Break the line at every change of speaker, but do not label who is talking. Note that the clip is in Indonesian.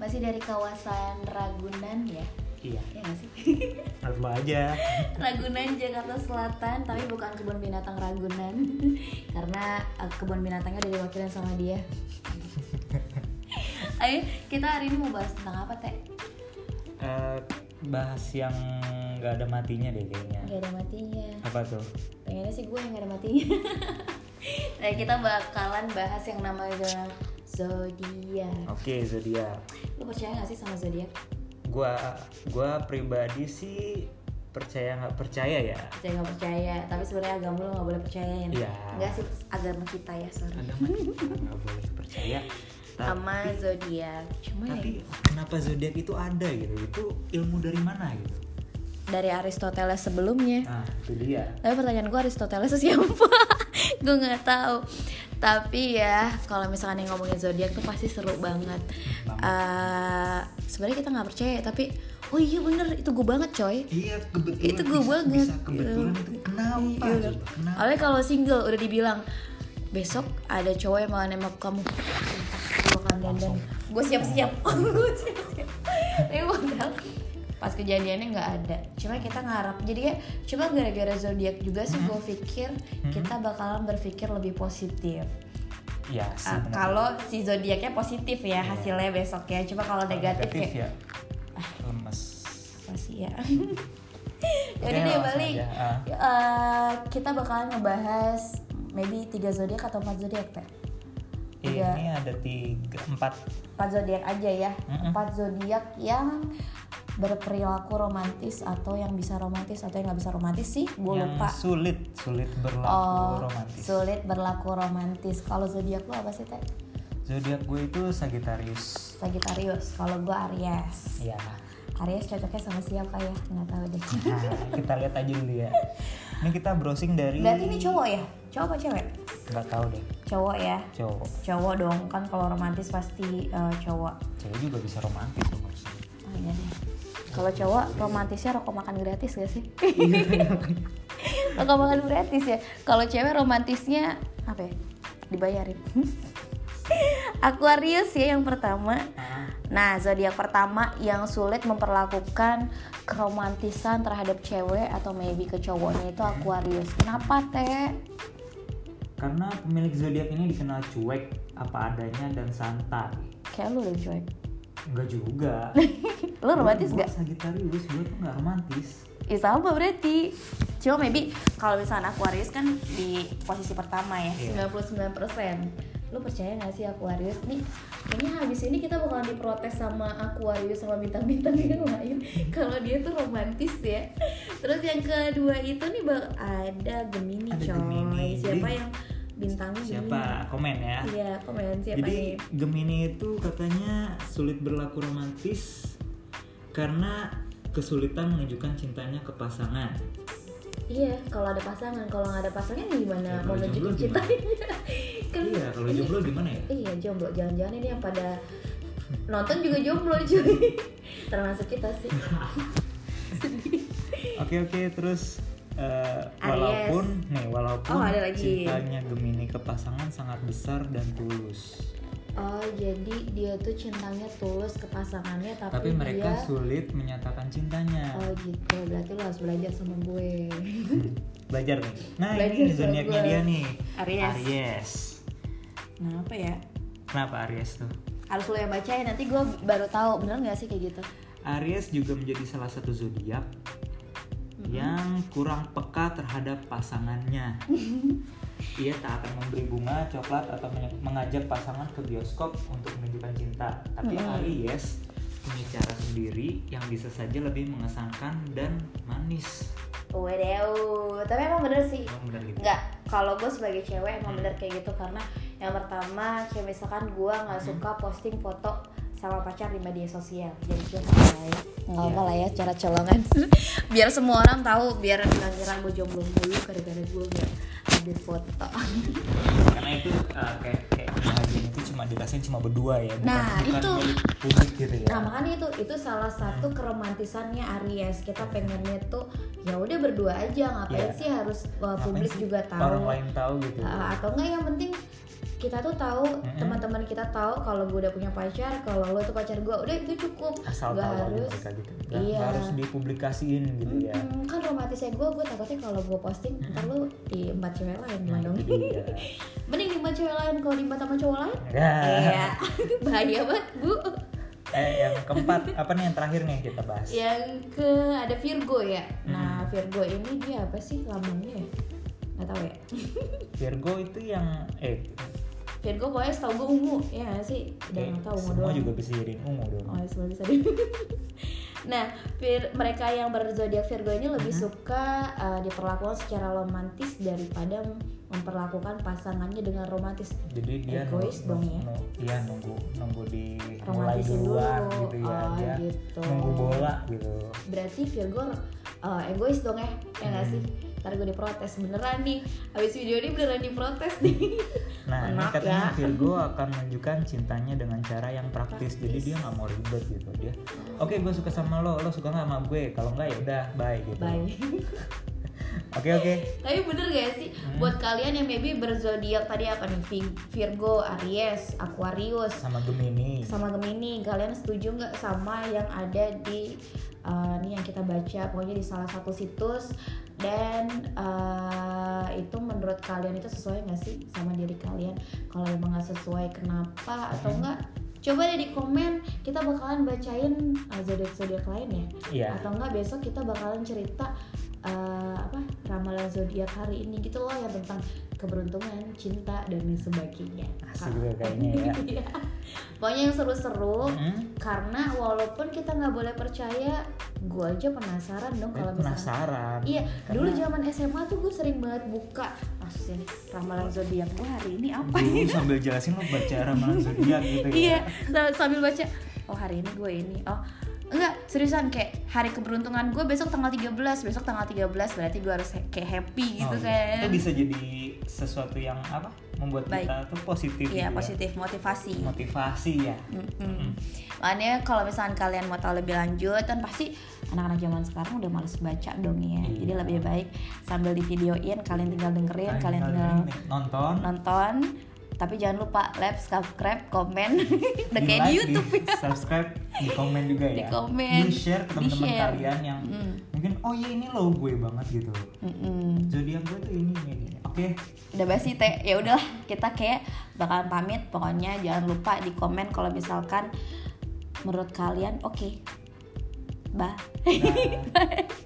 masih dari kawasan Ragunan ya
Iya,
ya nggak sih
normal aja.
Ragunan Jakarta Selatan tapi bukan kebun binatang Ragunan karena eh, kebun binatangnya udah diwakilin sama dia ayo kita hari ini mau bahas tentang apa teh
Eh, bahas yang nggak ada matinya deh kayaknya.
nggak ada matinya
Apa tuh?
pengennya sih gue yang nggak ada matinya nah kita bakalan bahas yang namanya zodiak
Oke, zodiak.
lo percaya nggak sih sama zodiak
Gua gua pribadi sih percaya nggak percaya ya.
saya nggak percaya tapi sebenarnya agama lo nggak boleh percayain
Iya.
nggak sih agama kita ya sorry
Agama kita nggak boleh percaya. Ta-
sama zodiak cuma ya
tapi kenapa zodiak itu ada gitu? Itu ilmu dari mana gitu?
dari Aristoteles sebelumnya
Nah, itu dia.
Tapi pertanyaan gue Aristoteles siapa? gue nggak tahu. Tapi ya kalau misalkan yang ngomongin zodiak tuh pasti seru banget.
Banget.
Eh, Sebenarnya kita nggak percaya tapi oh iya bener itu gue banget coy.
Iya, kebetulan
Itu gua
bisa-
banget,
Bisa kebetulan
gitu.
itu kenapa?
Iya.
coba? Kenapa?
Apalagi kalau single udah dibilang besok ada cowok yang mau nembak kamu. kan Gue akan dandan. Gue siap-siap. Gue siap-siap. Tapi modal pas kejadiannya nggak ada. Cuma kita ngarap. Jadi kayak cuma gara-gara zodiak juga sih gue pikir kita bakalan berpikir lebih positif.
Iya, sih,
Ah,
benar.
kalau si zodiaknya positif ya hasilnya besok ya. Cuma kalau negatif, kayak
ya lemes
apa sih ya? Jadi deh
Oke, Ya, langsung
balik.
aja. Ah.
Eh, kita bakalan ngebahas maybe tiga zodiak atau empat zodiak teh. Tiga,
ini ada tiga empat
empat zodiak aja ya.
Mm-mm.
Empat zodiak yang berperilaku romantis atau yang bisa romantis atau yang nggak bisa romantis sih, gue
yang
lupa.
sulit sulit berlaku
Oh,
romantis
sulit berlaku romantis. Kalau zodiak lo apa sih teh?
zodiak gue itu Sagittarius
Sagittarius. Kalau gue Aries.
ya
Aries cocoknya sama siapa ya? Nggak tahu deh.
Nah, kita lihat aja dulu ya ini kita browsing dari
Berarti ini cowok ya? Cowok apa cewek?
nggak tahu deh
Cowok ya.
cowok
cowok dong kan kalau romantis pasti eh, cowok
cewek juga bisa romantis loh maksudnya.
oh, iya deh. kalau cowok romantisnya rokok makan gratis gak sih rokok makan gratis ya kalau cewek romantisnya apa ya dibayarin Aquarius ya yang pertama
Ah,
Nah, zodiak pertama yang sulit memperlakukan keromantisan terhadap cewek atau maybe ke cowoknya itu Aquarius. Kenapa, Teh?
karena pemilik zodiak ini dikenal cuek apa adanya dan santai
Kayak lu deh, coy.
Enggak juga
Lu romantis
Gue-
gak?
gue Sagittarius gue tuh nggak romantis
Ya sama berarti Cuma maybe kalau misalnya Aquarius kan di posisi pertama ya
Iya.
99% Lu percaya gak sih Aquarius? Nih kayaknya habis ini kita bakalan diprotes sama Aquarius sama bintang-bintang yang lain Kalau dia tuh romantis ya Terus yang kedua itu nih bak- ada Gemini
Ada
coy
Gemini.
Siapa
Jadi,
yang bintangnya Gemini?
siapa komen ya
Oh, Iya komen siapa
Jadi
nih?
Gemini itu katanya sulit berlaku romantis karena kesulitan menunjukkan cintanya ke pasangan.
Iya, kalau ada pasangan, kalau nggak ada pasangan gimana
Ya,
mau
kalau jomblo
nunjukin
gimana?
cintanya? Kan
Iya, kalau
ini-
jomblo gimana ya?
Iya jomblo, jangan-jangan ini yang pada nonton juga jomblo cuy Termasuk kita sih
Oke oke terus eh,
Aries.
walaupun nih walaupun
Oh, ada lagi.
cintanya Gemini ke pasangan sangat besar dan tulus,
Oh jadi dia tuh cintanya tulus ke pasangannya
tapi
Tapi,
mereka
dia
sulit menyatakan cintanya. Hmm,
Oh gitu, berarti lo harus belajar sama gue
Belajar nih. Nah
Belajar
ini
sama
zodiaknya
gua.
dia nih.
Aries.
Aries.
Nah apa ya?
Kenapa Aries tuh?
Harus lo yang bacain, nanti gue baru tahu Bener gak sih kayak gitu?
Aries juga menjadi salah satu zodiak
Mm-hmm.
yang kurang peka terhadap pasangannya. Ia tak akan memberi bunga, coklat atau menye- mengajak pasangan ke bioskop untuk menunjukkan cinta. Tapi
Mm-mm.
Aries punya cara sendiri yang bisa saja lebih mengesankan dan manis.
Wedeu, tapi emang bener sih
Emang benar gitu.
Enggak, kalau gue sebagai cewek emang bener kayak gitu karena yang pertama kayak misalkan gue nggak suka posting foto sama pacar di media sosial jadi gue santai nggak apa lah ya cara colongan biar semua orang tahu biar nggak ngira gue jomblo mulu gara-gara gue nggak update foto
Karena itu uh, kayak kayak bahagian itu cuma dirasain cuma berdua ya. bukan-
Nah,
bukan
itu.
milik publik gitu ya.
nah makanya itu itu salah satu keromantisannya Aries kita pengennya tuh ya udah berdua aja ngapain
Iya.
sih harus uh,
Ngapain
publik
sih
juga tahu Ah,
Orang lain tahu gitu.
Uh, atau enggak Nah, yang penting kita tuh tahu
Mm-mm.
teman-teman kita tahu kalau gue udah punya pacar kalau lo tuh pacar gue udah itu cukup
asal
Nggak
tahu aja
harus.
mereka gitu nggak
Iya.
nggak harus dipublikasiin gitu ya
Mm, kan romantisnya gue gue takutnya kalau gue posting ntar lo di empat cewek lain
Nah,
dong
itu dia.
mending di empat cewek lain kalau di empat sama cowok lain
Nah,
Iya, bahaya banget bu.
eh yang keempat apa nih yang terakhir nih kita bahas
Yang ke ada Virgo ya. Nah Virgo ini dia apa sih lambangnya ya? Gak tau ya.
Virgo itu yang eh
Virgo pokoknya setau gue ungu ya nggak sih. Udah
eh,
nggak tau ungu
semua
doang.
juga bisa jadiin ungu dong
Oh ya semua bisa di- Nah, Vir- mereka yang berzodiak Virgo ini lebih suka uh, diperlakukan secara romantis daripada memperlakukan pasangannya dengan romantis.
jadi dia
Egois dong ya.
nung- iya, nunggu nunggu dimulai
Romantisin
duluan
dulu.
gitu ya
Oh,
dia
gitu.
nunggu bola gitu
berarti Virgo uh, egois dong ya ya nggak sih
Hmm.
ntar gue diprotes beneran nih habis video ini beneran diprotes nih
nah ini
Enak
katanya
ya.
Virgo akan menunjukkan cintanya dengan cara yang praktis, jadi
Praktis.
dia nggak mau ribet gitu dia oke gue suka sama lo lo suka nggak sama gue kalau nggak ya udah bye gitu
bye
oke oke
tapi bener gak sih
Hmm.
buat kalian yang maybe berzodiak tadi apa nih Vi- Virgo Aries Aquarius
sama Gemini
sama Gemini kalian setuju nggak sama yang ada di uh, nih yang kita baca pokoknya di salah satu situs dan uh, itu menurut kalian itu sesuai nggak sih sama diri kalian kalau emang nggak sesuai kenapa atau
Hmm.
enggak coba deh di komen kita bakalan bacain uh, zodiak zodiak lain ya
Iya.
atau enggak besok kita bakalan cerita uh, apa ramalan zodiak hari ini gitu loh yang tentang keberuntungan cinta dan lain sebagainya
Asik tuh kayaknya ya.
Iya. Pokoknya yang seru-seru
Hmm?
karena walaupun kita nggak boleh percaya, gue aja penasaran dong
Gue
kalau misalnya
penasaran.
Iya,
Karena-
dulu zaman SMA tuh gue sering banget buka maksudnya ramalan zodiak gue hari ini apa
Dulu
ini?
sambil jelasin lo baca ramalan zodiak gitu ya.
iya, sa- sambil baca, oh hari ini gue ini, oh enggak seriusan kayak hari keberuntungan gue besok tanggal 13 besok tanggal 13 berarti gue harus he- kayak happy gitu
Oh,
kan
Itu bisa jadi sesuatu yang apa? Membuat
Baik.
kita tuh positif
iya
gitu
positif motivasi
ya. Motivasi ya.
Mm-mm. Makanya kalau misalkan kalian mau tahu lebih lanjut kan pasti anak-anak zaman sekarang udah males baca dong ya.
Iya.
Jadi lebih baik sambil di videoin kalian tinggal dengerin, kalian
Kalian
tinggal
ini nonton
nonton. Tapi jangan lupa like, subscribe, komen. Udah kayak di
like,
YouTube. ya.
di subscribe, di komen juga ya.
Di komen,
Di share ke teman-teman
di-share.
kalian yang
Mm.
mungkin oh iya ini lo gue banget gitu.
Mm-mm.
Zodiak gue tuh ini ini. ini. Oke.
udah basi teh ya udahlah kita kayak bakalan pamit pokoknya jangan lupa di komen kalau misalkan menurut kalian oke bah
Nah.